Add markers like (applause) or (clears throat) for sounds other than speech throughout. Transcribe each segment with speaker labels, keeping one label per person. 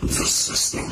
Speaker 1: the system.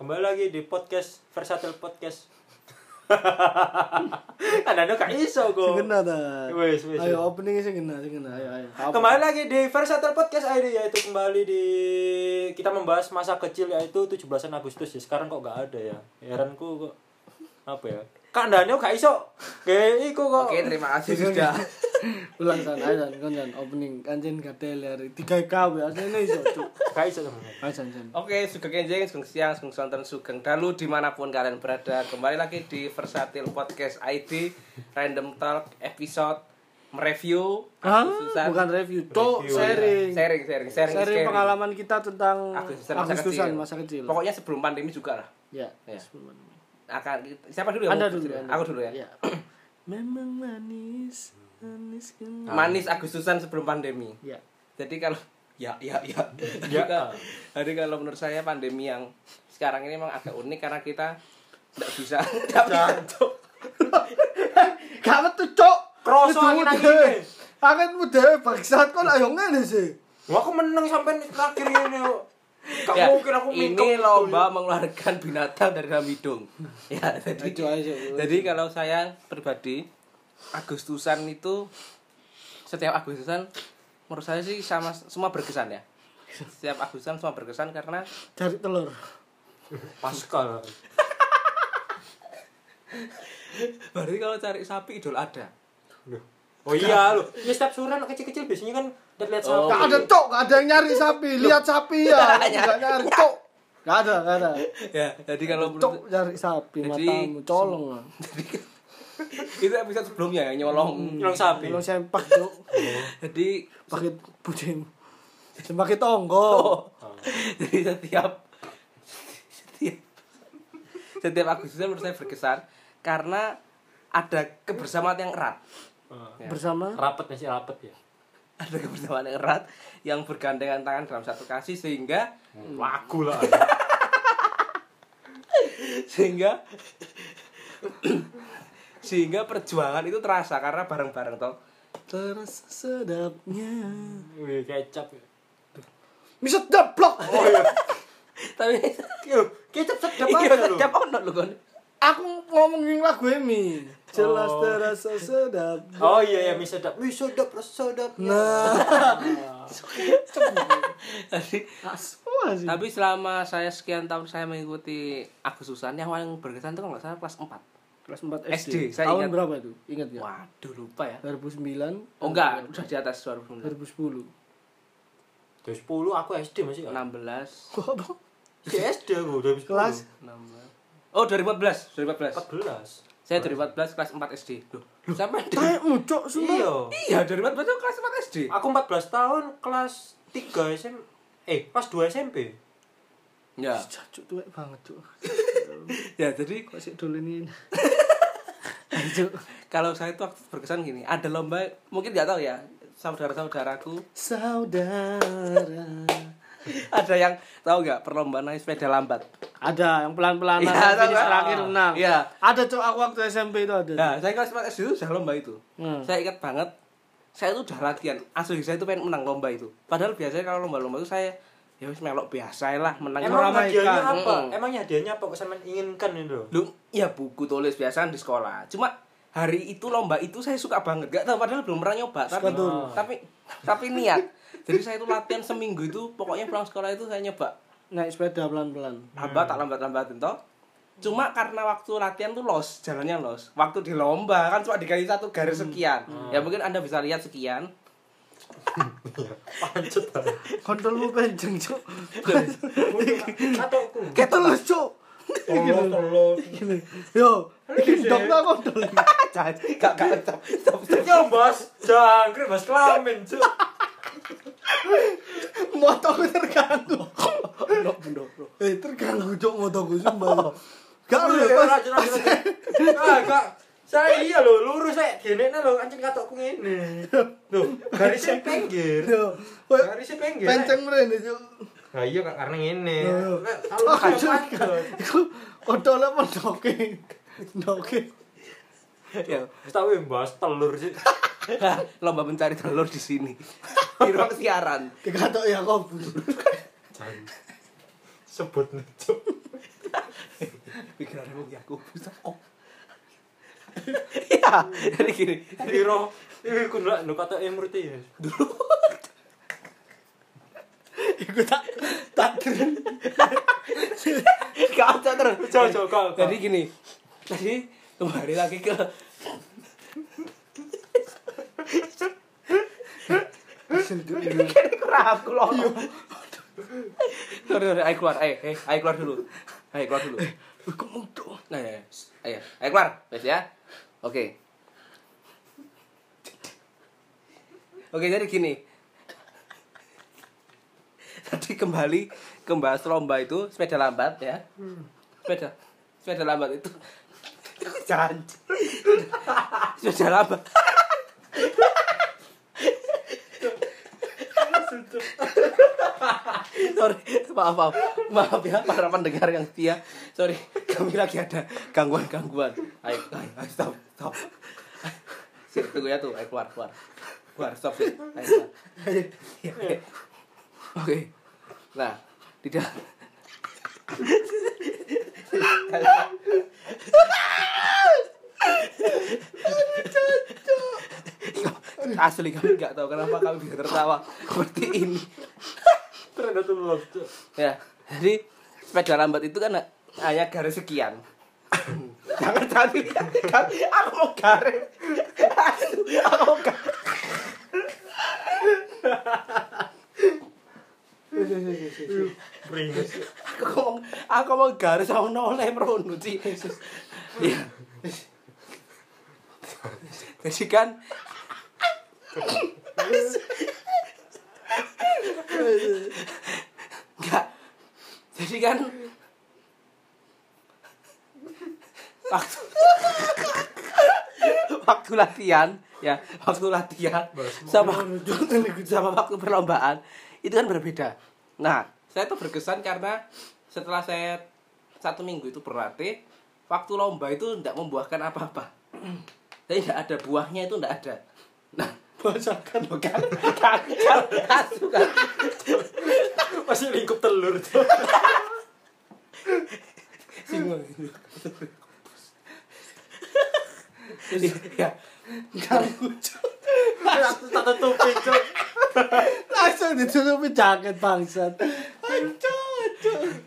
Speaker 2: Kembali lagi di podcast Versatile Podcast.
Speaker 3: (laughs)
Speaker 2: kan ada kayak iso go.
Speaker 4: Sing kena ta.
Speaker 2: Wes, wes,
Speaker 4: Ayo opening sing kena, sing kena. Ayo ayo. Apa?
Speaker 2: Kembali lagi di Versatile Podcast ID yaitu kembali di kita membahas masa kecil yaitu 17-an Agustus ya. Sekarang kok nggak ada ya. Heranku kok apa ya? Kak Daniel gak iso. Kayak iku kok.
Speaker 3: Oke,
Speaker 4: Oh.
Speaker 3: terima kasih sudah.
Speaker 4: Ulang san, ayo san, kon san opening kancen gatel ya. 3K ya, asline iso. Cuk.
Speaker 3: (laughs)
Speaker 2: Gak iso sama.
Speaker 4: Ayo san san.
Speaker 3: Oke, Sugeng Kenjeng, Sugeng Siang, Sugeng Sonten, Sugeng Dalu dimanapun kalian berada Kembali lagi di Versatil Podcast ID Random Talk episode mereview
Speaker 4: Hah?
Speaker 3: Agustusan.
Speaker 4: Bukan review, to
Speaker 2: Review,
Speaker 4: sharing.
Speaker 3: Sharing, sharing, sharing,
Speaker 4: Sharing pengalaman kita tentang
Speaker 3: Agustusan masa
Speaker 4: Agustusan
Speaker 3: kecil.
Speaker 4: masa kecil.
Speaker 3: Pokoknya sebelum pandemi juga lah
Speaker 4: Ya.
Speaker 3: Ya.
Speaker 4: sebelum ini.
Speaker 3: akan siapa dulu ya?
Speaker 4: Anda
Speaker 3: Aku
Speaker 4: dulu. Anda. Iya.
Speaker 3: Aku dulu ya. (clears throat)
Speaker 4: Memang manis, manis kan.
Speaker 3: Manis Agustusan sebelum pandemi.
Speaker 4: Ya.
Speaker 3: Jadi
Speaker 4: (laughs)
Speaker 3: kalau ya ya ya.
Speaker 2: Ya.
Speaker 3: Jadi kalau menurut saya pandemi yang sekarang ini memang agak unik karena kita tidak bisa (laughs) nggak bisa
Speaker 4: Gak metu, Cuk.
Speaker 2: Kroso
Speaker 4: Metu
Speaker 2: angin
Speaker 4: muda.
Speaker 2: anginnya.
Speaker 4: Angin muda bangsat kon ayo ngene sih.
Speaker 2: Wah, aku menang sampai terakhir ini. kok. Gak
Speaker 3: Ya,
Speaker 2: mungkin aku
Speaker 3: ini
Speaker 2: mingkem.
Speaker 3: lomba mengeluarkan binatang dari dalam hidung. Ya, jadi,
Speaker 4: Ayo, ayo.
Speaker 3: jadi kalau saya pribadi Agustusan itu setiap Agustusan menurut saya sih sama semua berkesan ya. Setiap Agustusan semua berkesan karena
Speaker 4: Cari telur.
Speaker 2: Pascal.
Speaker 3: berarti kalau cari sapi idul ada.
Speaker 2: Oh iya loh. Ya setiap sore anak kecil-kecil biasanya kan lihat
Speaker 3: Oh.
Speaker 2: sama.
Speaker 4: Gak ada cok, gak ada yang nyari sapi. Lihat sapi ya, gak nyari cok. Gak ada, gak ada.
Speaker 3: Ya, jadi kalau
Speaker 4: Cok
Speaker 3: menurut-
Speaker 4: nyari sapi
Speaker 3: Jadi-
Speaker 4: matamu colong lah.
Speaker 3: itu episode sebelumnya yang nyolong.
Speaker 2: Nyolong sapi.
Speaker 4: Belum sempak cok.
Speaker 3: Jadi
Speaker 4: Pakai buding. Semakin
Speaker 3: Oh.
Speaker 4: tonggo.
Speaker 3: (laughs) jadi setiap setiap setiap Agustusan menurut saya berkesan karena ada kebersamaan yang erat
Speaker 2: Eh,
Speaker 4: Bersama
Speaker 2: Rapet masih rapet ya.
Speaker 3: ada kebersamaan yang erat yang bergandengan tangan dalam satu kasih sehingga
Speaker 2: Laku lah.
Speaker 3: (laughs) sehingga (coughs) sehingga perjuangan itu terasa karena bareng-bareng toh
Speaker 4: terasa sedapnya.
Speaker 2: Wih, kecap. ya.
Speaker 4: Bisa deblok.
Speaker 3: Oh, iya. tapi
Speaker 2: Yo, kecap sedap
Speaker 3: (laughs) iya
Speaker 2: aja
Speaker 3: setiap ono lho kon
Speaker 4: Aku ngomongin lagu Emi. Jelas
Speaker 2: Oh.
Speaker 4: terasa sedap.
Speaker 2: Oh iya ya, mie sedap. Iya. Mie sedap, res sedap.
Speaker 3: Iya.
Speaker 4: Nah,
Speaker 3: Jadi,
Speaker 4: semua sih.
Speaker 3: tapi selama saya sekian tahun saya mengikuti Agustusan yang paling berkesan itu kalau nggak salah kelas 4
Speaker 4: Kelas 4
Speaker 3: SD,
Speaker 4: SD.
Speaker 3: saya
Speaker 4: Tahun
Speaker 3: ingat.
Speaker 4: berapa itu? Ingat gak?
Speaker 3: Waduh lupa ya.
Speaker 4: 2009.
Speaker 3: Oh enggak, udah di atas 2019.
Speaker 4: 2010.
Speaker 2: Dari 10 aku SD masih.
Speaker 3: 16,
Speaker 2: Nah,
Speaker 3: 16.
Speaker 4: Kok
Speaker 2: SD aku dari 10.
Speaker 4: Kelas
Speaker 3: Oh 2014, 2014.
Speaker 2: 14.
Speaker 3: Saya 2014 kelas 4 SD. Loh, sampai di-
Speaker 4: Kayak mucok sumpah.
Speaker 2: Iya.
Speaker 3: Iya, 2014 itu kelas 4 SD.
Speaker 2: Aku 14 tahun kelas 3 SM eh kelas 2 SMP.
Speaker 3: Ya.
Speaker 4: Cacuk tuwek banget, Cuk.
Speaker 5: (laughs)
Speaker 3: Ya, jadi
Speaker 4: Kok sik dolen ini. Cuk.
Speaker 3: kalau saya itu waktu berkesan gini, ada lomba mungkin nggak tahu ya saudara-saudaraku (laughs)
Speaker 4: Saudara.
Speaker 3: ada yang tahu nggak perlombaan naik sepeda lambat
Speaker 4: Ada yang pelan-pelan
Speaker 3: Iya,
Speaker 4: ada
Speaker 3: tahu,
Speaker 4: finish
Speaker 3: Pak.
Speaker 4: terakhir menang.
Speaker 3: Iya.
Speaker 4: Ada Cuk aku waktu SMP itu ada.
Speaker 3: nah saya kelas 4 SD itu sudah lomba itu
Speaker 4: Hmm.
Speaker 3: saya ingat banget saya itu udah latihan asli saya itu pengen menang lomba itu padahal biasanya kalau lomba-lomba itu saya ya wis melok biasa lah menang ya
Speaker 2: Emang
Speaker 3: ramai
Speaker 2: hadiahnya
Speaker 3: kan.
Speaker 2: apa?
Speaker 3: Mm-mm.
Speaker 2: Emang hadiahnya apa kesan inginkan itu? (laughs) loh?
Speaker 3: Lu ya buku tulis biasa di sekolah. Cuma hari itu lomba itu saya suka banget. Gak tahu padahal belum pernah nyoba
Speaker 4: Suka
Speaker 3: tapi
Speaker 4: dulu.
Speaker 3: tapi tapi niat. Jadi saya itu latihan seminggu itu pokoknya pulang sekolah itu saya nyoba
Speaker 5: naik sepeda pelan-pelan.
Speaker 3: Abah tak lambat-lambatin toh. Cuma karena waktu latihan tuh los, jalannya los. Waktu di lomba kan cuma dikali satu garis sekian. Ya mungkin Anda bisa lihat sekian.
Speaker 2: Pancut.
Speaker 5: Kontrolmu kenceng,
Speaker 3: (laughs)
Speaker 5: Cuk.
Speaker 2: Atau ku.
Speaker 5: Kayak telus, Cuk.
Speaker 2: Tolong, tolong.
Speaker 5: Yo, iki ndok tak
Speaker 3: (laughs)
Speaker 5: kontrol.
Speaker 3: Iya. Gak gak stop stop. stop.
Speaker 2: (laughs) Yo, Bos. Jangkrik, Bos kelamin, Cuk.
Speaker 5: Motoku terganggu. Eh, terganggu, Cuk, motoku
Speaker 3: Oh.
Speaker 5: sumpah. Gak
Speaker 2: Aduh,
Speaker 5: lho,
Speaker 3: iya,
Speaker 2: ya,
Speaker 5: pas.
Speaker 2: racun,
Speaker 5: (laughs)
Speaker 2: racun, racun. Ah, Kak. Saya iya lho, lurus saya. Gini lho, anjing katokku ngene. Loh, garisnya
Speaker 3: iya.
Speaker 2: pinggir.
Speaker 5: Yo, koyo
Speaker 2: Garisnya pinggir.
Speaker 5: penceng mrene, Cuk.
Speaker 2: Nah, iya Kak, karena ngene.
Speaker 5: Loh,
Speaker 2: Kak, kalau
Speaker 5: Oh, kacau.
Speaker 2: saya pancut.
Speaker 5: Iku kontrolnya mondoke. Mondoke.
Speaker 3: (laughs) Ya. (laughs)
Speaker 2: Wis tak weh, Bos, telur sih.
Speaker 3: Lomba mencari telur di sini. Di ruang siaran.
Speaker 5: Dikatok ya kok.
Speaker 2: Jan. Sebut nih, Cuk.
Speaker 3: Pikiranmu ya aku bisa kok. Ya, jadi gini.
Speaker 2: Piro? Iki ku ndak lho katoke murti ya.
Speaker 5: Iku tak tak terus.
Speaker 3: (laughs) Gak ada terus.
Speaker 2: Jauh, jauh, kau, kau.
Speaker 3: Jadi gini. Tadi kembali lagi ke Kini kerap aku loh. Sorry, sorry, ayo keluar, ayo, eh, ayo, ayo keluar dulu. Ayo keluar dulu.
Speaker 5: Iku mudok.
Speaker 3: Nah, ya, ya. ayo, ayo keluar, wes ya. Oke. Oke, jadi gini. Tadi kembali ke bahas lomba itu sepeda lambat ya. Sepeda sepeda lambat itu janji. sepeda lambat. sorry maaf maaf maaf ya para pendengar yang setia sorry kami lagi ada gangguan gangguan ayo ayo ayo, stop stop Sip, tunggu ya tuh ayo keluar keluar keluar stop sip. ayo keluar. Iya, oke. oke nah tidak asli kami nggak tahu kenapa kami bisa tertawa seperti ini
Speaker 2: Ternyata telur, Cuk.
Speaker 3: ya jadi sepeda lambat itu kan hanya garis sekian jangan jangan kan aku mau garis aku mau garis
Speaker 2: Pringes.
Speaker 3: aku mau aku mau garis sama noleh merunu sih ya jadi kan enggak jadi kan waktu waktu latihan ya waktu latihan sama sama waktu perlombaan itu kan berbeda nah saya tuh berkesan karena setelah saya satu minggu itu berlatih waktu lomba itu tidak membuahkan apa-apa (clears throat) jadi tidak ada buahnya itu tidak ada nah (laughs)
Speaker 5: Bosakan lo
Speaker 3: kan kan kan asu, kan
Speaker 2: Masih lingkup telur, Cuk.
Speaker 3: Singgung. ya
Speaker 5: ganggu Cuk.
Speaker 2: Tak tutupin, Cuk.
Speaker 5: Langsung ditutupi jaket bangsat.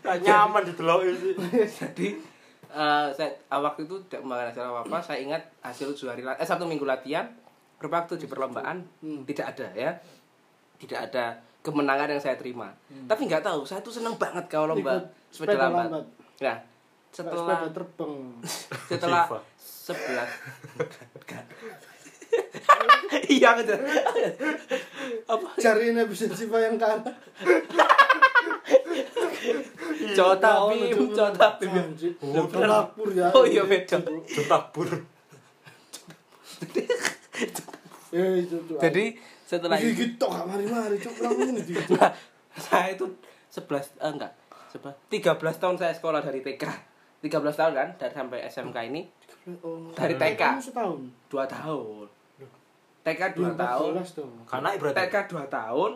Speaker 2: Tak nyaman dideloki sih.
Speaker 3: jadi eh, saya ah, waktu itu tidak memakan hasil apa apa saya ingat hasil tujuh hari la- eh satu minggu latihan berapa waktu di perlombaan tidak ada ya tidak ada kemenangan yang saya terima tapi nggak tahu saya tuh seneng banget kalau lomba
Speaker 5: Ikut
Speaker 3: sepeda,
Speaker 5: sepeda
Speaker 3: lambat.
Speaker 5: lambat.
Speaker 3: nah setelah
Speaker 5: sepeda terbang.
Speaker 3: setelah
Speaker 2: FIFA.
Speaker 3: sebelas iya betul apa
Speaker 5: (laughs) Cari bisa siapa yang kalah.
Speaker 3: Cota Bim, Cota Bim.
Speaker 5: Oh, lapur ya.
Speaker 3: Oh iya beda.
Speaker 2: Ditabur.
Speaker 5: Eh, itu tuh.
Speaker 3: Jadi setelah
Speaker 5: Iki
Speaker 3: itu,
Speaker 5: gitu gak mari-mari cuk Lah, ini di-
Speaker 3: nah, saya itu 11 eh, enggak, 11 13 tahun saya sekolah dari TK. 13 tahun kan dari sampai SMK ini
Speaker 5: Oh.
Speaker 3: Dari TK.
Speaker 5: Kamu setahun.
Speaker 3: 2 tahun. TK 2 tahun.
Speaker 5: 14 dong.
Speaker 2: Karena
Speaker 3: TK
Speaker 2: berarti.
Speaker 3: 2 tahun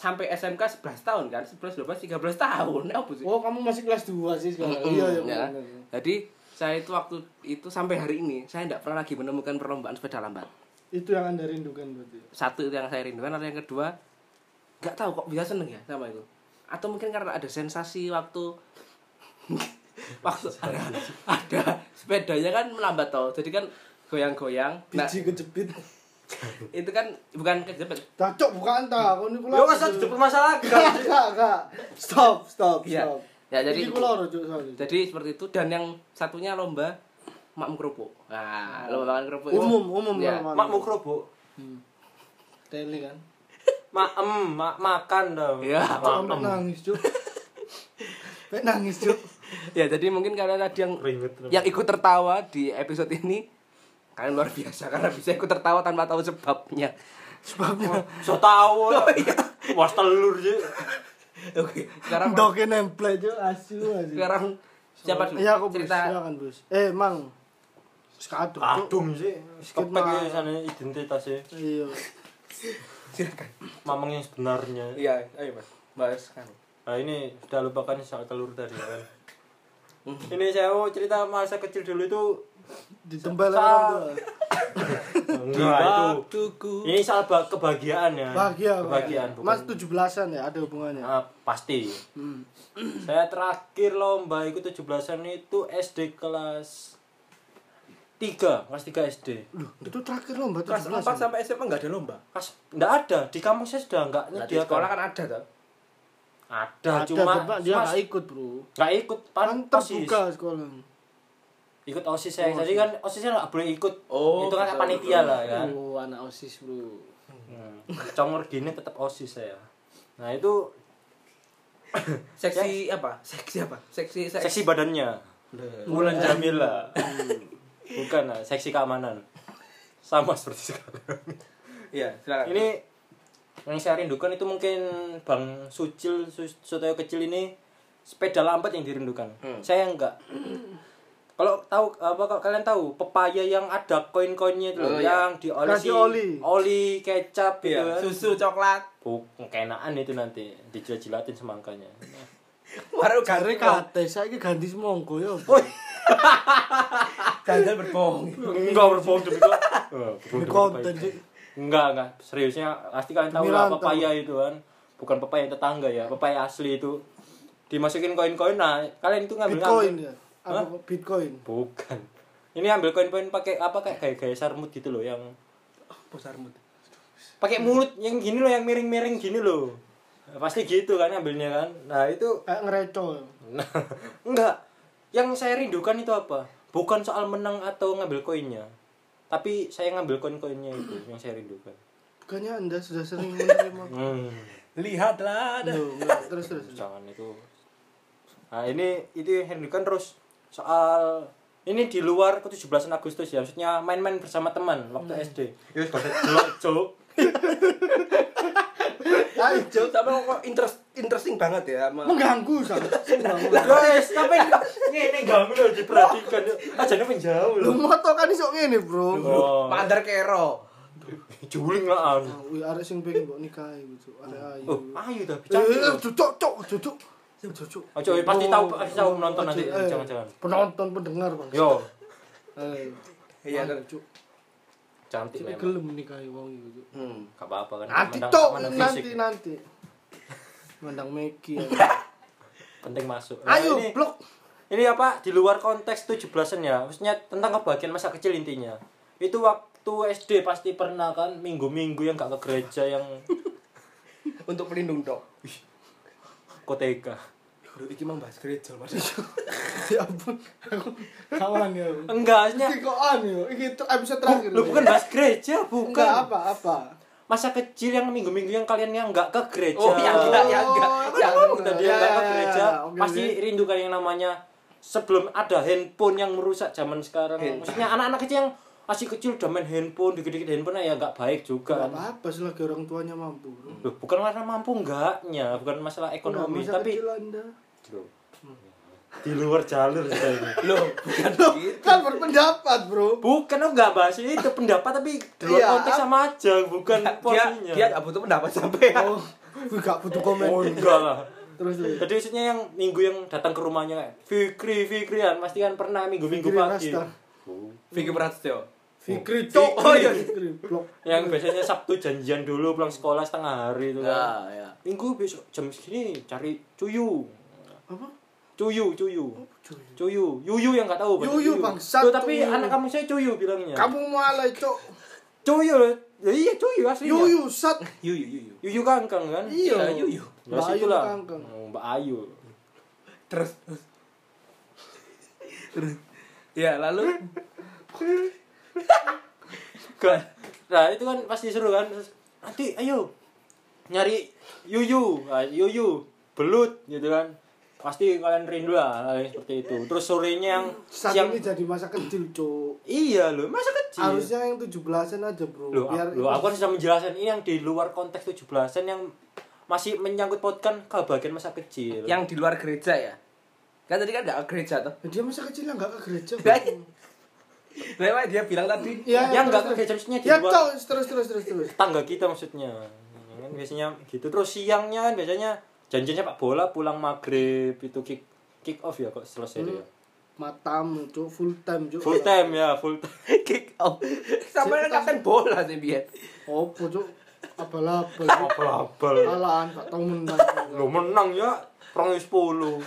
Speaker 3: sampai SMK 11 tahun kan, 11 12 13 tahun. Eh, apa sih?
Speaker 5: Oh, kamu masih kelas 2 sih sekarang.
Speaker 3: Mm-mm,
Speaker 5: Iya, iya.
Speaker 3: ya.
Speaker 5: bener.
Speaker 3: Jadi saya itu waktu itu sampai hari ini saya tidak pernah lagi menemukan perlombaan sepeda lambat.
Speaker 5: Itu yang Anda rindukan berarti.
Speaker 3: satu itu yang saya rindukan atau yang kedua nggak tahu kok bisa seneng ya sama itu atau mungkin karena ada sensasi waktu (laughs) waktu ada, ada sepedanya kan melambat toh jadi kan goyang-goyang nah
Speaker 5: Biji kejepit.
Speaker 3: itu kan bukan kejepit
Speaker 5: Cacok bukan ta, kon niku
Speaker 2: Yo wes dijebut masalah
Speaker 5: Kak, kak, kak. Stop, stop,
Speaker 3: Iya.
Speaker 5: stop.
Speaker 3: Ya, jadi-
Speaker 5: Iki kula lho, Cuk, sorry.
Speaker 3: jadi seperti itu dan yang satunya lomba makmum kerupuk nah lomba makan kerupuk itu-
Speaker 5: Umum, umum
Speaker 3: ya.
Speaker 5: normal.
Speaker 2: mak mukrobo.
Speaker 5: Hmm. Tele kan.
Speaker 2: Mak em, mak makan dong.
Speaker 3: Iya,
Speaker 2: mak
Speaker 5: Sampai
Speaker 2: em.
Speaker 5: nangis, Cuk. Sampai nangis, (laughs) Cuk.
Speaker 3: ya jadi mungkin karena tadi yang
Speaker 2: Ribet.
Speaker 3: yang ikut tertawa di episode ini kalian luar biasa karena bisa ikut tertawa tanpa tahu sebabnya
Speaker 5: Sebabnya
Speaker 2: So (laughs) tau. Was telur sih.
Speaker 3: oke sekarang
Speaker 5: doke nempel, Cuk, asu asu.
Speaker 3: sekarang siapa dulu
Speaker 5: Iya, aku Bus.
Speaker 3: cerita
Speaker 5: Silakan, Bus. Eh, Mang. Sekadung. Cuk.
Speaker 2: Kadung sih.
Speaker 5: Sikit
Speaker 2: Kepek
Speaker 5: mah.
Speaker 2: ya sana identitasnya.
Speaker 5: Iya.
Speaker 3: silakan
Speaker 2: Mamang yang sebenarnya.
Speaker 3: iya ayo mas bahas kan
Speaker 2: Nah ini sudah lupakan soal telur tadi kan. ini saya mau cerita masa kecil dulu itu
Speaker 5: Ditembel
Speaker 2: Sa-
Speaker 5: orang tua.
Speaker 2: Enggak, itu.
Speaker 3: waktuku
Speaker 2: Ini soal ba- kebahagiaan ya.
Speaker 5: Bahagia, Bang.
Speaker 2: kebahagiaan bukan.
Speaker 5: Mas 17-an ya ada hubungannya.
Speaker 2: Ah, pasti.
Speaker 5: Hmm.
Speaker 2: saya terakhir lomba itu 17-an itu SD kelas 3, kelas 3 SD.
Speaker 5: Loh, itu terakhir lomba
Speaker 3: kelas 4
Speaker 5: 17-an.
Speaker 3: sampai SMA nggak ada lomba
Speaker 2: Kelas enggak ada di kampus saya sudah enggak
Speaker 3: nah, di sekolah kan ada toh
Speaker 2: Ada,
Speaker 5: Ada,
Speaker 2: cuma
Speaker 5: Bapak, dia
Speaker 2: mas,
Speaker 5: nggak ikut, Bro.
Speaker 2: nggak ikut pan
Speaker 5: Kan
Speaker 2: OSIS.
Speaker 5: terbuka sekolah.
Speaker 2: Ikut OSIS saya. Jadi kan OSISnya nggak boleh ikut.
Speaker 3: Oh,
Speaker 2: itu kan
Speaker 3: betul,
Speaker 2: panitia lah kan. Hmm.
Speaker 5: Oh, anak OSIS, Bro.
Speaker 2: Congor gini tetap OSIS saya. Nah, itu
Speaker 3: seksi apa seksi apa seksi seksi
Speaker 2: seksi badannya. Bulan Jamila. Bukan lah, seksi keamanan. Sama seperti sekarang.
Speaker 3: iya silakan
Speaker 2: Ini yang saya rindukan itu mungkin Bang Sucil Su- Sutoyo kecil ini sepeda lambat yang dirindukan.
Speaker 3: Hmm.
Speaker 2: Saya enggak. Kalau tahu apa kalau kalian tahu pepaya yang ada koin-koinnya itu loh,
Speaker 3: Oh,
Speaker 2: yang
Speaker 3: iya.
Speaker 2: diolesi
Speaker 5: Kasih oli.
Speaker 2: oli kecap gitu
Speaker 3: iya
Speaker 2: kan.
Speaker 3: susu coklat
Speaker 2: Bu, kenaan itu nanti dijilat-jilatin semangkanya.
Speaker 3: baru ganti
Speaker 5: Cari
Speaker 3: kok
Speaker 5: kate, saiki ganti semongko yo.
Speaker 2: Woi,
Speaker 3: jangan berbohong
Speaker 2: enggak berbohong demi kok. Eh, berbohong
Speaker 5: Ini
Speaker 2: demi
Speaker 5: konten
Speaker 2: kebaikan.
Speaker 5: sih.
Speaker 2: Enggak, enggak. Seriusnya pasti kalian tahu
Speaker 5: Demi
Speaker 2: lah
Speaker 5: rantau.
Speaker 2: pepaya itu kan. Bukan pepaya tetangga ya, pepaya asli itu. Dimasukin koin-koin nah, kalian itu ngambil
Speaker 5: Bitcoin
Speaker 2: ngambil-
Speaker 5: ya. Apa Bitcoin?
Speaker 2: Bukan. Ini ambil koin-koin pakai apa kayak gaya-gaya sarmut gitu loh yang
Speaker 3: posarmut
Speaker 2: pakai mulut yang gini loh yang miring-miring gini loh. Pasti gitu kan ambilnya kan. Nah, itu
Speaker 5: Kayak ngereco. yo.
Speaker 2: Nah, (laughs) enggak. Yang saya rindukan itu apa? Bukan soal menang atau ngambil koinnya. Tapi saya ngambil koin-koinnya itu (clears throat) yang saya rindukan.
Speaker 5: Bukannya Anda sudah
Speaker 3: (laughs)
Speaker 5: sering menerima?
Speaker 2: Hmm,
Speaker 3: lihatlah ada
Speaker 5: Loh, enggak. terus terus. terus.
Speaker 2: jangan itu. Nah, ini itu yang saya rindukan terus soal ini di luar ke 17 Agustus ya, maksudnya main-main bersama teman waktu SD. Itu sudah jelek, Cuk.
Speaker 3: Ayo, tapi kok interest, interesting banget ya sama
Speaker 5: Mengganggu sama.
Speaker 2: Guys, tapi (laughs) ngene ganggu lho diperhatikan. Ajane menjauh
Speaker 5: Lu
Speaker 2: lho.
Speaker 5: moto kan iso ngene, Bro.
Speaker 2: Oh.
Speaker 3: Mandar Kero.
Speaker 2: Juling lah. an.
Speaker 5: Wih, arek sing pengen kok nikahi gitu. Arek ayu.
Speaker 2: Oh, ayo tapi
Speaker 5: Eh,
Speaker 2: cantik.
Speaker 5: eh,
Speaker 2: lho.
Speaker 5: Cocok, cocok, cocok. Cocok.
Speaker 2: Ojo, eh, pasti tahu pasti tahu menonton nanti
Speaker 5: Eh,
Speaker 2: jangan-jangan.
Speaker 5: Penonton pendengar, Bang.
Speaker 2: Yo,
Speaker 5: Eh,
Speaker 3: Iya,
Speaker 5: ayo,
Speaker 3: kan.
Speaker 5: Cuk.
Speaker 2: cantik
Speaker 5: Cuk,
Speaker 2: memang.
Speaker 5: gelem nikahi wong iku, Cuk.
Speaker 3: Hmm.
Speaker 2: Gak apa-apa kan.
Speaker 5: Nanti
Speaker 2: Mandang-
Speaker 5: tok,
Speaker 2: mandang fisik.
Speaker 5: nanti nanti. Mandang Meki. ya.
Speaker 2: Penting masuk. (laughs) Nah,
Speaker 5: Ayo,
Speaker 2: ini,
Speaker 5: blok.
Speaker 2: ini apa? Di luar konteks 17-an ya. Maksudnya tentang kebahagiaan masa kecil intinya. Itu waktu SD pasti pernah kan minggu-minggu yang gak ke gereja
Speaker 5: (laughs)
Speaker 2: yang
Speaker 3: Untuk pelindung dok.
Speaker 2: koteka.
Speaker 3: Aduh, iki mah bahas gereja mas.
Speaker 5: (laughs) Ya ampun, aku kawan (laughs) ya. aku.
Speaker 2: Enggak, maksudnya
Speaker 5: Iki kok an yo, iki ter- episode terakhir.
Speaker 2: lu bukan bahas gereja,
Speaker 5: Enggak
Speaker 2: bukan.
Speaker 5: apa apa.
Speaker 2: Masa kecil yang minggu-minggu yang kalian yang gak ke gereja.
Speaker 3: Oh, yang enggak, yang enggak.
Speaker 2: Ya,
Speaker 3: Yang
Speaker 2: kalau udah dia
Speaker 5: Ya,
Speaker 2: nggak ke
Speaker 5: ya, ya,
Speaker 2: gereja,
Speaker 5: ya, oke,
Speaker 2: pasti
Speaker 5: oke.
Speaker 2: rindu kan yang namanya sebelum ada handphone yang merusak zaman sekarang.
Speaker 3: Handphone.
Speaker 2: Maksudnya anak-anak kecil yang masih kecil udah main handphone, dikit-dikit handphone ya nggak baik juga.
Speaker 5: Enggak apa apa selagi orang tuanya mampu. Bro.
Speaker 2: Loh, bukan karena mampu enggaknya, bukan masalah ekonomi,
Speaker 5: Masa
Speaker 2: tapi
Speaker 5: kecil Anda.
Speaker 2: Loh, di luar jalur sudah ini.
Speaker 3: Loh, (laughs) bukan gitu.
Speaker 5: Kan berpendapat, Bro.
Speaker 2: (laughs) Bukan aku nggak bahas ini itu pendapat tapi di luar
Speaker 5: Iya,
Speaker 2: konteks sama aja,
Speaker 3: kan
Speaker 2: bukan
Speaker 3: Dia
Speaker 2: posisinya.
Speaker 3: dia nggak butuh pendapat sampai.
Speaker 5: Oh, gue gak butuh komen.
Speaker 2: Oh enggak lah.
Speaker 5: Terus terus.
Speaker 2: Jadi maksudnya yang minggu yang datang ke rumahnya kayak Fikri, Fikri kan pasti kan pernah minggu-minggu
Speaker 5: Fikri
Speaker 2: pagi.
Speaker 5: Rasta.
Speaker 2: Oh.
Speaker 3: Vicky Prasetyo.
Speaker 5: Fikri
Speaker 3: Cok,
Speaker 5: Fikri,
Speaker 3: oh iya.
Speaker 5: Fikri blok.
Speaker 2: yang biasanya Sabtu janjian dulu pulang sekolah setengah hari itu kan.
Speaker 3: Ya, ya.
Speaker 2: Minggu besok jam segini cari cuyu.
Speaker 5: Apa? Oh,
Speaker 2: Cuyu, cuyu. Cuyu, yuyu yang nggak tahu. bahasa
Speaker 5: Yuyu, bangsat,
Speaker 2: Tuh, tapi
Speaker 5: cuyu.
Speaker 2: anak kamu saya cuyu bilangnya.
Speaker 5: Kamu mualai cok.
Speaker 2: Cuyu loh. Ya iya cuyu aslinya.
Speaker 5: Yuyu sat.
Speaker 3: Yuyu, yuyu.
Speaker 2: Yuyu kangkang kan?
Speaker 5: Iya.
Speaker 3: Ya, yuyu.
Speaker 2: Ya
Speaker 5: Mbak Ayu
Speaker 2: situlah.
Speaker 5: kangkang.
Speaker 2: Oh, Mbak Ayu.
Speaker 3: Terus. terus. Terus. Ya, lalu
Speaker 2: Kan. Nah, itu kan pasti seru kan. Terus, Nanti ayo nyari yuyu, Ah, yuyu, belut gitu kan. Pasti kalian rindu lah hal yang seperti itu. Terus sorenya yang
Speaker 5: Saat
Speaker 2: siang
Speaker 5: ini jadi masa kecil cok.
Speaker 2: Iya loh, masa kecil.
Speaker 5: Harusnya yang 17-an aja bro.
Speaker 2: Loh,
Speaker 5: Biar
Speaker 2: aku- loh, aku harus bisa menjelaskan ini yang di luar konteks 17-an yang masih menyangkut pautkan ke bagian masa kecil.
Speaker 3: yang di luar gereja ya. Kan tadi kan enggak gereja toh.
Speaker 5: Ya, dia masa kecil yang nggak ke gereja.
Speaker 3: Lah, Lewat dia bilang tadi.
Speaker 5: Iya,
Speaker 2: yang
Speaker 5: terus,
Speaker 2: enggak
Speaker 5: terus.
Speaker 2: kerja harusnya di
Speaker 5: Ya
Speaker 2: luar
Speaker 5: cok terus terus terus terus.
Speaker 2: tangga kita maksudnya. Kan biasanya gitu. Terus siangnya kan biasanya janjinya Pak bola pulang maghrib itu kick kick off ya kok selesai
Speaker 5: Hmm.
Speaker 2: dia.
Speaker 5: Matamu cok full time cok.
Speaker 2: Full time ya, full (laughs) time.
Speaker 3: Kick off. Sama kan kapten bola sih biar.
Speaker 5: Opo cok. Abal-abal. Cok.
Speaker 2: Abal-abal.
Speaker 5: Alahan gak tau menang.
Speaker 2: Lo menang ya. Perang 10.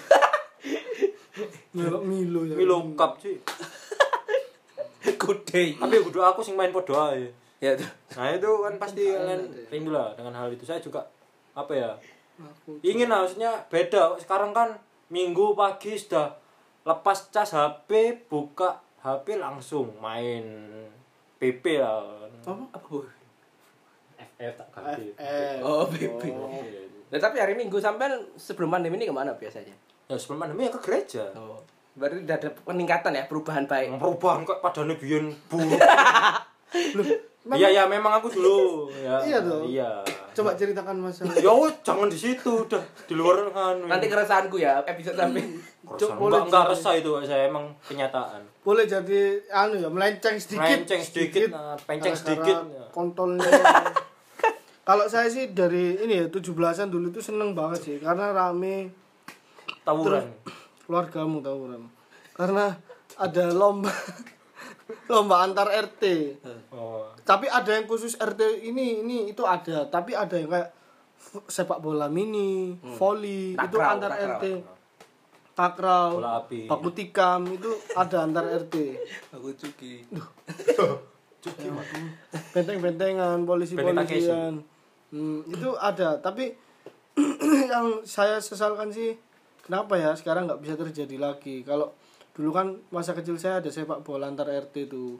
Speaker 5: Melok Milo ya.
Speaker 2: Milo Cup sih.
Speaker 3: Kude.
Speaker 2: Tapi kudu aku sing main podo ae.
Speaker 3: Ya tuh.
Speaker 2: Nah itu kan pasti kalian
Speaker 5: gitu ya.
Speaker 2: rindu lah dengan hal itu. Saya juga apa ya
Speaker 5: Aku
Speaker 2: ingin lah, maksudnya beda. Sekarang kan minggu pagi sudah lepas cas HP, buka HP langsung main PP lah.
Speaker 5: apa?
Speaker 3: Apa bu?
Speaker 2: FF tak ganti.
Speaker 5: FF.
Speaker 3: Oh, baby. Nah, tapi hari Minggu sampean sebelum pandemi ini kemana biasanya?
Speaker 2: Ya sebelum pandemi ya ke gereja.
Speaker 3: Oh. Berarti udah ada peningkatan ya, perubahan baik.
Speaker 2: Perubahan kok padane biyen buruk.
Speaker 5: (laughs) Loh,
Speaker 2: (laughs) Iya ya memang aku dulu. Ya,
Speaker 5: Iya toh.
Speaker 2: Iya.
Speaker 5: coba ceritakan masalah.
Speaker 2: Ya wes, jangan di situ udah di luar kan.
Speaker 3: Nanti keresahanku ya episode sampai. (laughs)
Speaker 5: Cok,
Speaker 2: Hmm. Keresahan.
Speaker 5: boleh
Speaker 2: Enggak enggak
Speaker 5: jadi-
Speaker 2: resah itu saya emang kenyataan.
Speaker 5: Boleh jadi anu ya melenceng sedikit.
Speaker 2: Melenceng sedikit, nah, penceng
Speaker 5: Karena-
Speaker 2: sedikit.
Speaker 5: karena
Speaker 2: (laughs)
Speaker 5: Kontolnya. Kalau saya sih dari ini ya 17-an dulu tuh seneng banget sih karena rame
Speaker 2: Tawuran.
Speaker 5: keluargamu tahu Ram. Karena ada lomba (laughs) lomba antar RT.
Speaker 2: Oh.
Speaker 5: Tapi ada yang khusus RT ini ini itu ada, tapi ada yang kayak f- sepak bola mini, volley itu
Speaker 3: Takraw,
Speaker 5: antar
Speaker 3: takraw.
Speaker 5: RT. Takraw,
Speaker 2: Bola api.
Speaker 5: baku tikam itu ada antar RT.
Speaker 3: Aku cuki.
Speaker 2: Benteng
Speaker 5: benteng-bentengan
Speaker 2: Takeshi.
Speaker 5: polisi-polisian Hmm, itu ada tapi (clears throat) yang saya sesalkan sih kenapa ya sekarang nggak bisa terjadi lagi kalau dulu kan masa kecil saya ada sepak bola antar RT itu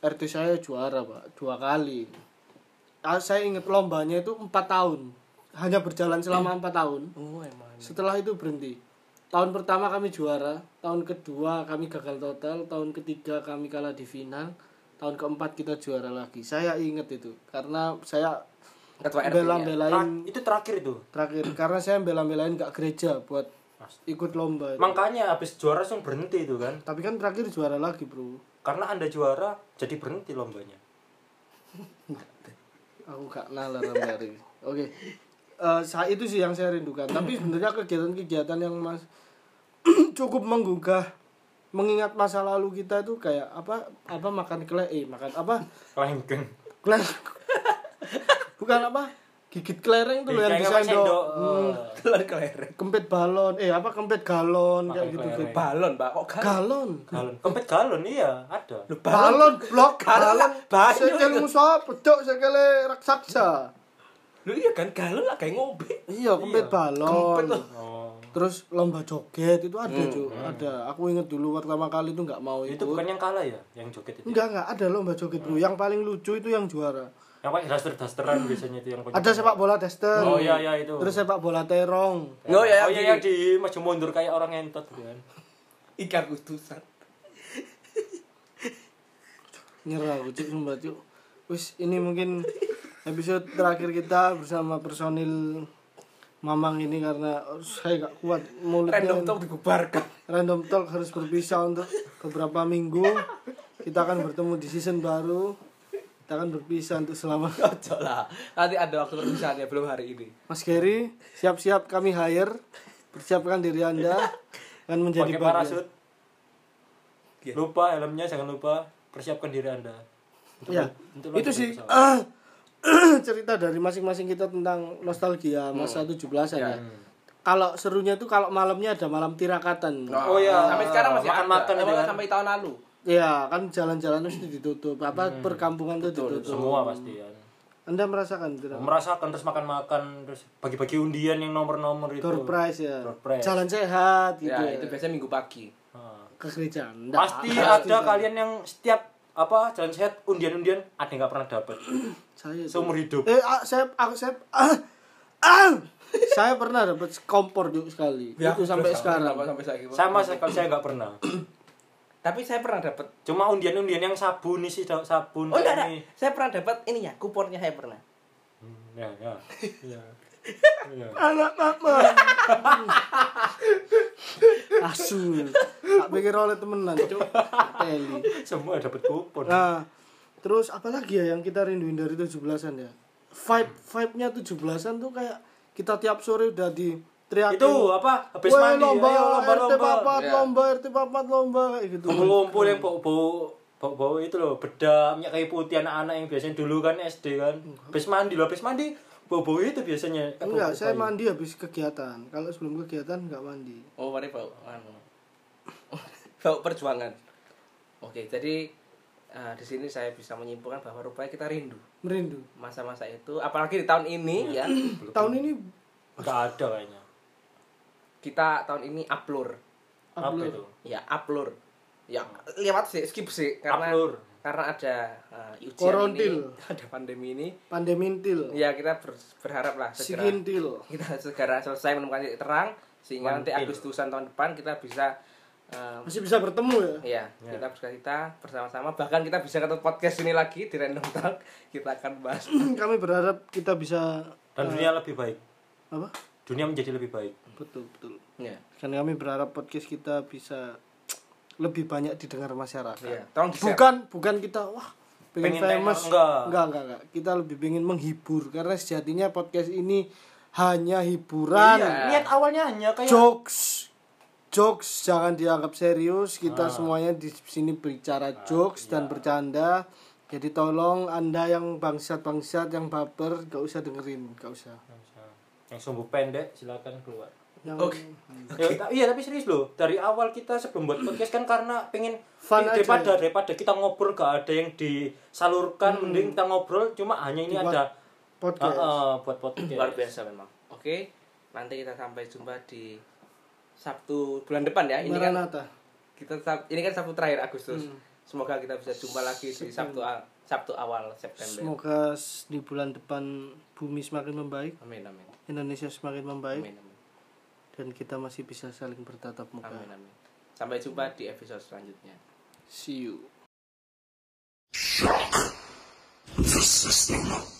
Speaker 5: RT saya juara pak dua kali Ah, saya ingat lombanya itu empat tahun hanya
Speaker 2: Iya.
Speaker 5: berjalan selama empat tahun
Speaker 3: Oh, emang.
Speaker 5: setelah itu berhenti. Tahun pertama kami juara, tahun kedua kami gagal total, tahun ketiga kami kalah di final, tahun keempat kita juara lagi. Saya inget itu karena saya
Speaker 3: Ketua RT. -nya.
Speaker 2: Tra-
Speaker 5: bela-belain
Speaker 2: itu terakhir itu.
Speaker 5: terakhir karena saya bela-belain gak gereja buat ikut lomba. itu.
Speaker 2: Makanya habis juara langsung berhenti itu kan.
Speaker 5: Tapi kan terakhir juara lagi, Bro.
Speaker 2: Karena Anda juara jadi berhenti lombanya.
Speaker 5: Aku gak nalar sampai hari ini. Oke. Eh, saya itu sih yang saya rindukan. Tapi sebenarnya kegiatan-kegiatan yang mas (clears throat) cukup menggugah mengingat masa lalu kita itu kayak apa apa makan kele eh makan apa
Speaker 2: Lengkeng.
Speaker 5: kler bukan apa gigit kelereng tuh loh yang
Speaker 2: Kayak
Speaker 5: bisa
Speaker 2: pakai sendok. Oh,
Speaker 5: Hmm,
Speaker 3: (laughs) Telur kelereng.
Speaker 5: kempit balon eh apa kempet galon
Speaker 2: Makan
Speaker 5: kayak gitu
Speaker 2: kelereng.
Speaker 3: Balon, Mbak. Kok galon?
Speaker 5: galon
Speaker 2: Galon. Kempet galon iya, ada.
Speaker 3: Lu balon.
Speaker 5: balon blok
Speaker 3: Galon lah,
Speaker 5: galon
Speaker 3: banyu
Speaker 5: sekel
Speaker 3: itu.
Speaker 5: musuh pedok sekele raksasa
Speaker 3: Lu iya kan galon lah kayak ngobek.
Speaker 5: iya kempit balon
Speaker 3: Kempet loh.
Speaker 2: Oh.
Speaker 5: terus lomba joget itu ada cuy ada aku inget dulu pertama kali itu nggak mau
Speaker 2: Hmm. Itu
Speaker 5: ikut
Speaker 2: bukan yang kalah ya, yang joget itu.
Speaker 5: enggak enggak ada lomba joget bro yang paling lucu itu yang juara
Speaker 2: Yang pakai daster-dasteran biasanya itu yang pakai.
Speaker 5: Hmm. ada sepak bola tester
Speaker 2: Oh iya iya itu.
Speaker 5: terus sepak bola terong
Speaker 3: Oh,
Speaker 2: oh,
Speaker 3: iya, iya.
Speaker 2: iya, yang di maju mundur kayak orang ngentot gitu kan.
Speaker 3: Ikan kutusan.
Speaker 5: nyerah aku cuk sumpah cuk wis ini mungkin episode terakhir kita bersama personil Mamang ini karena saya gak kuat mulutnya
Speaker 3: Random talk dibubarkan. (laughs)
Speaker 5: Random Talk harus berpisah untuk beberapa minggu kita akan bertemu di season baru kita akan berpisah untuk selama
Speaker 3: Ojo lah. Nanti ada waktu perpisahannya belum hari ini.
Speaker 5: Mas Gary siap-siap kami hire persiapkan diri anda akan menjadi
Speaker 2: Pakai
Speaker 5: bagian.
Speaker 2: parasut.
Speaker 3: Iya.
Speaker 2: Lupa helmnya jangan lupa persiapkan diri Anda.
Speaker 5: ya
Speaker 2: Untuk lanjut
Speaker 5: itu sih
Speaker 2: ke
Speaker 5: Ah, (clears throat) cerita dari masing-masing kita tentang nostalgia masa 17-an ya. Kalau serunya tuh kalau malamnya ada malam tirakatan.
Speaker 2: Oh, iya.
Speaker 3: Nah, Sampai sekarang masih
Speaker 2: Makan-makan
Speaker 3: ada.
Speaker 2: itu kan.
Speaker 3: sampai tahun lalu.
Speaker 5: Ya, kan jalan-jalan itu ditutup, apa perkampungan itu ditutup.
Speaker 2: semua pasti ya
Speaker 3: Iya.
Speaker 5: Anda
Speaker 2: Oh.
Speaker 5: merasakan tidak?
Speaker 2: merasakan terus makan-makan terus bagi-bagi undian yang nomor-nomor itu
Speaker 5: Door prize ya.
Speaker 2: Door prize.
Speaker 5: Jalan sehat gitu.
Speaker 2: Iya,
Speaker 3: Ya,
Speaker 5: Ya,
Speaker 3: itu biasanya minggu pagi.
Speaker 2: Ah.
Speaker 5: Ke gereja. Nggak.
Speaker 3: Nah,
Speaker 2: pasti ada kalian yang setiap apa jalan sehat undian-undian ada yang nggak pernah dapat
Speaker 5: Saya itu-
Speaker 2: seumur hidup
Speaker 5: Eh, ah, saya aku saya ah, ah. saya pernah dapat kompor juga sekali. itu sampai sekarang.
Speaker 3: Kenapa sampai sekarang?
Speaker 2: sama sekali saya nggak pernah
Speaker 3: Tapi saya pernah dapat.
Speaker 2: cuma undian-undian yang sabun nih sih da- sabun
Speaker 3: Oh enggak, enggak.
Speaker 2: Iya, ini.
Speaker 3: Saya pernah dapat ininya, kuponnya saya pernah.
Speaker 2: Hmm, ya ya (laughs) ya ya
Speaker 5: Anak mama. Asu. Tak pikir oleh temenan, Cuk. Teli.
Speaker 2: semua dapat kupon
Speaker 5: Nah, terus apa lagi ya yang kita rinduin dari 17-an ya? Vibe vibe-nya 17-an tuh kayak kita tiap sore udah di teriakin
Speaker 2: itu apa habis
Speaker 5: "Weh,
Speaker 2: mandi ya?
Speaker 5: lomba,
Speaker 2: ayo lomba
Speaker 5: RT
Speaker 2: lomba ya.
Speaker 5: papat
Speaker 3: Iya.
Speaker 5: lomba RT papat lomba kayak gitu.
Speaker 2: kumpul-kumpul yang bau bau bau bau itu loh bedak minyak kayu putih anak-anak yang biasanya dulu kan SD kan habis mandi loh habis mandi bau bau itu biasanya Eh,
Speaker 5: Enggak,
Speaker 2: bau-bau
Speaker 5: saya
Speaker 2: kayu.
Speaker 5: mandi habis kegiatan. Kalau sebelum kegiatan enggak mandi.
Speaker 3: Oh, mari bau. anu. (laughs) bau Oh, perjuangan. Oke, jadi eh, di sini saya bisa menyimpulkan bahwa rupanya kita rindu
Speaker 5: Merindu.
Speaker 3: masa-masa itu, apalagi di tahun ini ya. (clears throat)
Speaker 5: Tahun ini
Speaker 2: nggak ada kayaknya
Speaker 3: Kita tahun ini uplur.
Speaker 2: apa
Speaker 5: Upload.
Speaker 2: itu
Speaker 3: Ya, uplur. Ya, lewat sih, skip sih karena
Speaker 2: Uplur.
Speaker 3: karena ada eh, ujian
Speaker 5: Korontil.
Speaker 3: ini, (laughs) ada pandemi ini.
Speaker 2: Iya,
Speaker 5: pandemintil,
Speaker 3: Ya, kita ber- berharap lah segera
Speaker 5: sikintil.
Speaker 3: (laughs) kita segera selesai menemukan titik terang sehingga nanti
Speaker 2: Mantil.
Speaker 3: Agustusan tahun depan kita bisa eh,
Speaker 5: Masih bisa bertemu ya? (clears throat)
Speaker 3: Iya,
Speaker 2: Ya.
Speaker 3: kita bercerita bersama-sama. Bahkan kita bisa ketemu podcast ini lagi di Random Talk. Kita akan bahas.
Speaker 5: Kami berharap kita bisa
Speaker 2: dan dunia lebih baik
Speaker 5: apa?
Speaker 2: dunia menjadi lebih baik
Speaker 5: Betul, betul.
Speaker 3: Iya.
Speaker 5: Dan kami berharap podcast kita bisa lebih banyak didengar masyarakat.
Speaker 3: Iya. Tolong di-share.
Speaker 5: Bukan bukan kita wah pengen,
Speaker 2: Pengen tenar,
Speaker 5: famous.
Speaker 2: enggak.
Speaker 5: enggak, enggak, enggak. Kita lebih pengen menghibur karena sejatinya podcast ini hanya hiburan.
Speaker 2: niat awalnya hanya kayak
Speaker 5: Jokes jokes jangan dianggap serius. Kita semuanya di sini berbicara jokes dan bercanda. Jadi tolong Anda yang bangsat-bangsat yang baper gak usah dengerin, gak usah.
Speaker 2: yang sumbu pendek silakan keluar
Speaker 5: Yang
Speaker 3: Oke.
Speaker 5: Hmm.
Speaker 2: Ya, ta- iya tapi serius loh dari awal kita sebelum buat podcast kan karena pengen
Speaker 5: Fun
Speaker 2: eh,
Speaker 5: aja.
Speaker 2: daripada daripada kita ngobrol gak ada yang disalurkan mending kita ngobrol cuma hanya ini
Speaker 5: Hmm. Dibuat
Speaker 2: ada
Speaker 5: podcast.
Speaker 2: Ah, ah, buat podcast
Speaker 3: Luar biasa memang. Oke, nanti kita sampai jumpa di Sabtu bulan depan ya. Ini kan
Speaker 5: Maranatha.
Speaker 3: kita Sab- ini kan Sabtu terakhir Agustus. Semoga kita bisa jumpa lagi di Sabtu a- Sabtu awal September.
Speaker 5: Semoga s- di bulan depan bumi semakin membaik,
Speaker 3: Amin amin.
Speaker 5: Indonesia semakin membaik,
Speaker 3: Amin amin.
Speaker 5: dan kita masih bisa saling bertatap muka.
Speaker 3: Amin amin. Sampai jumpa di episode selanjutnya.
Speaker 5: See you.
Speaker 1: the system.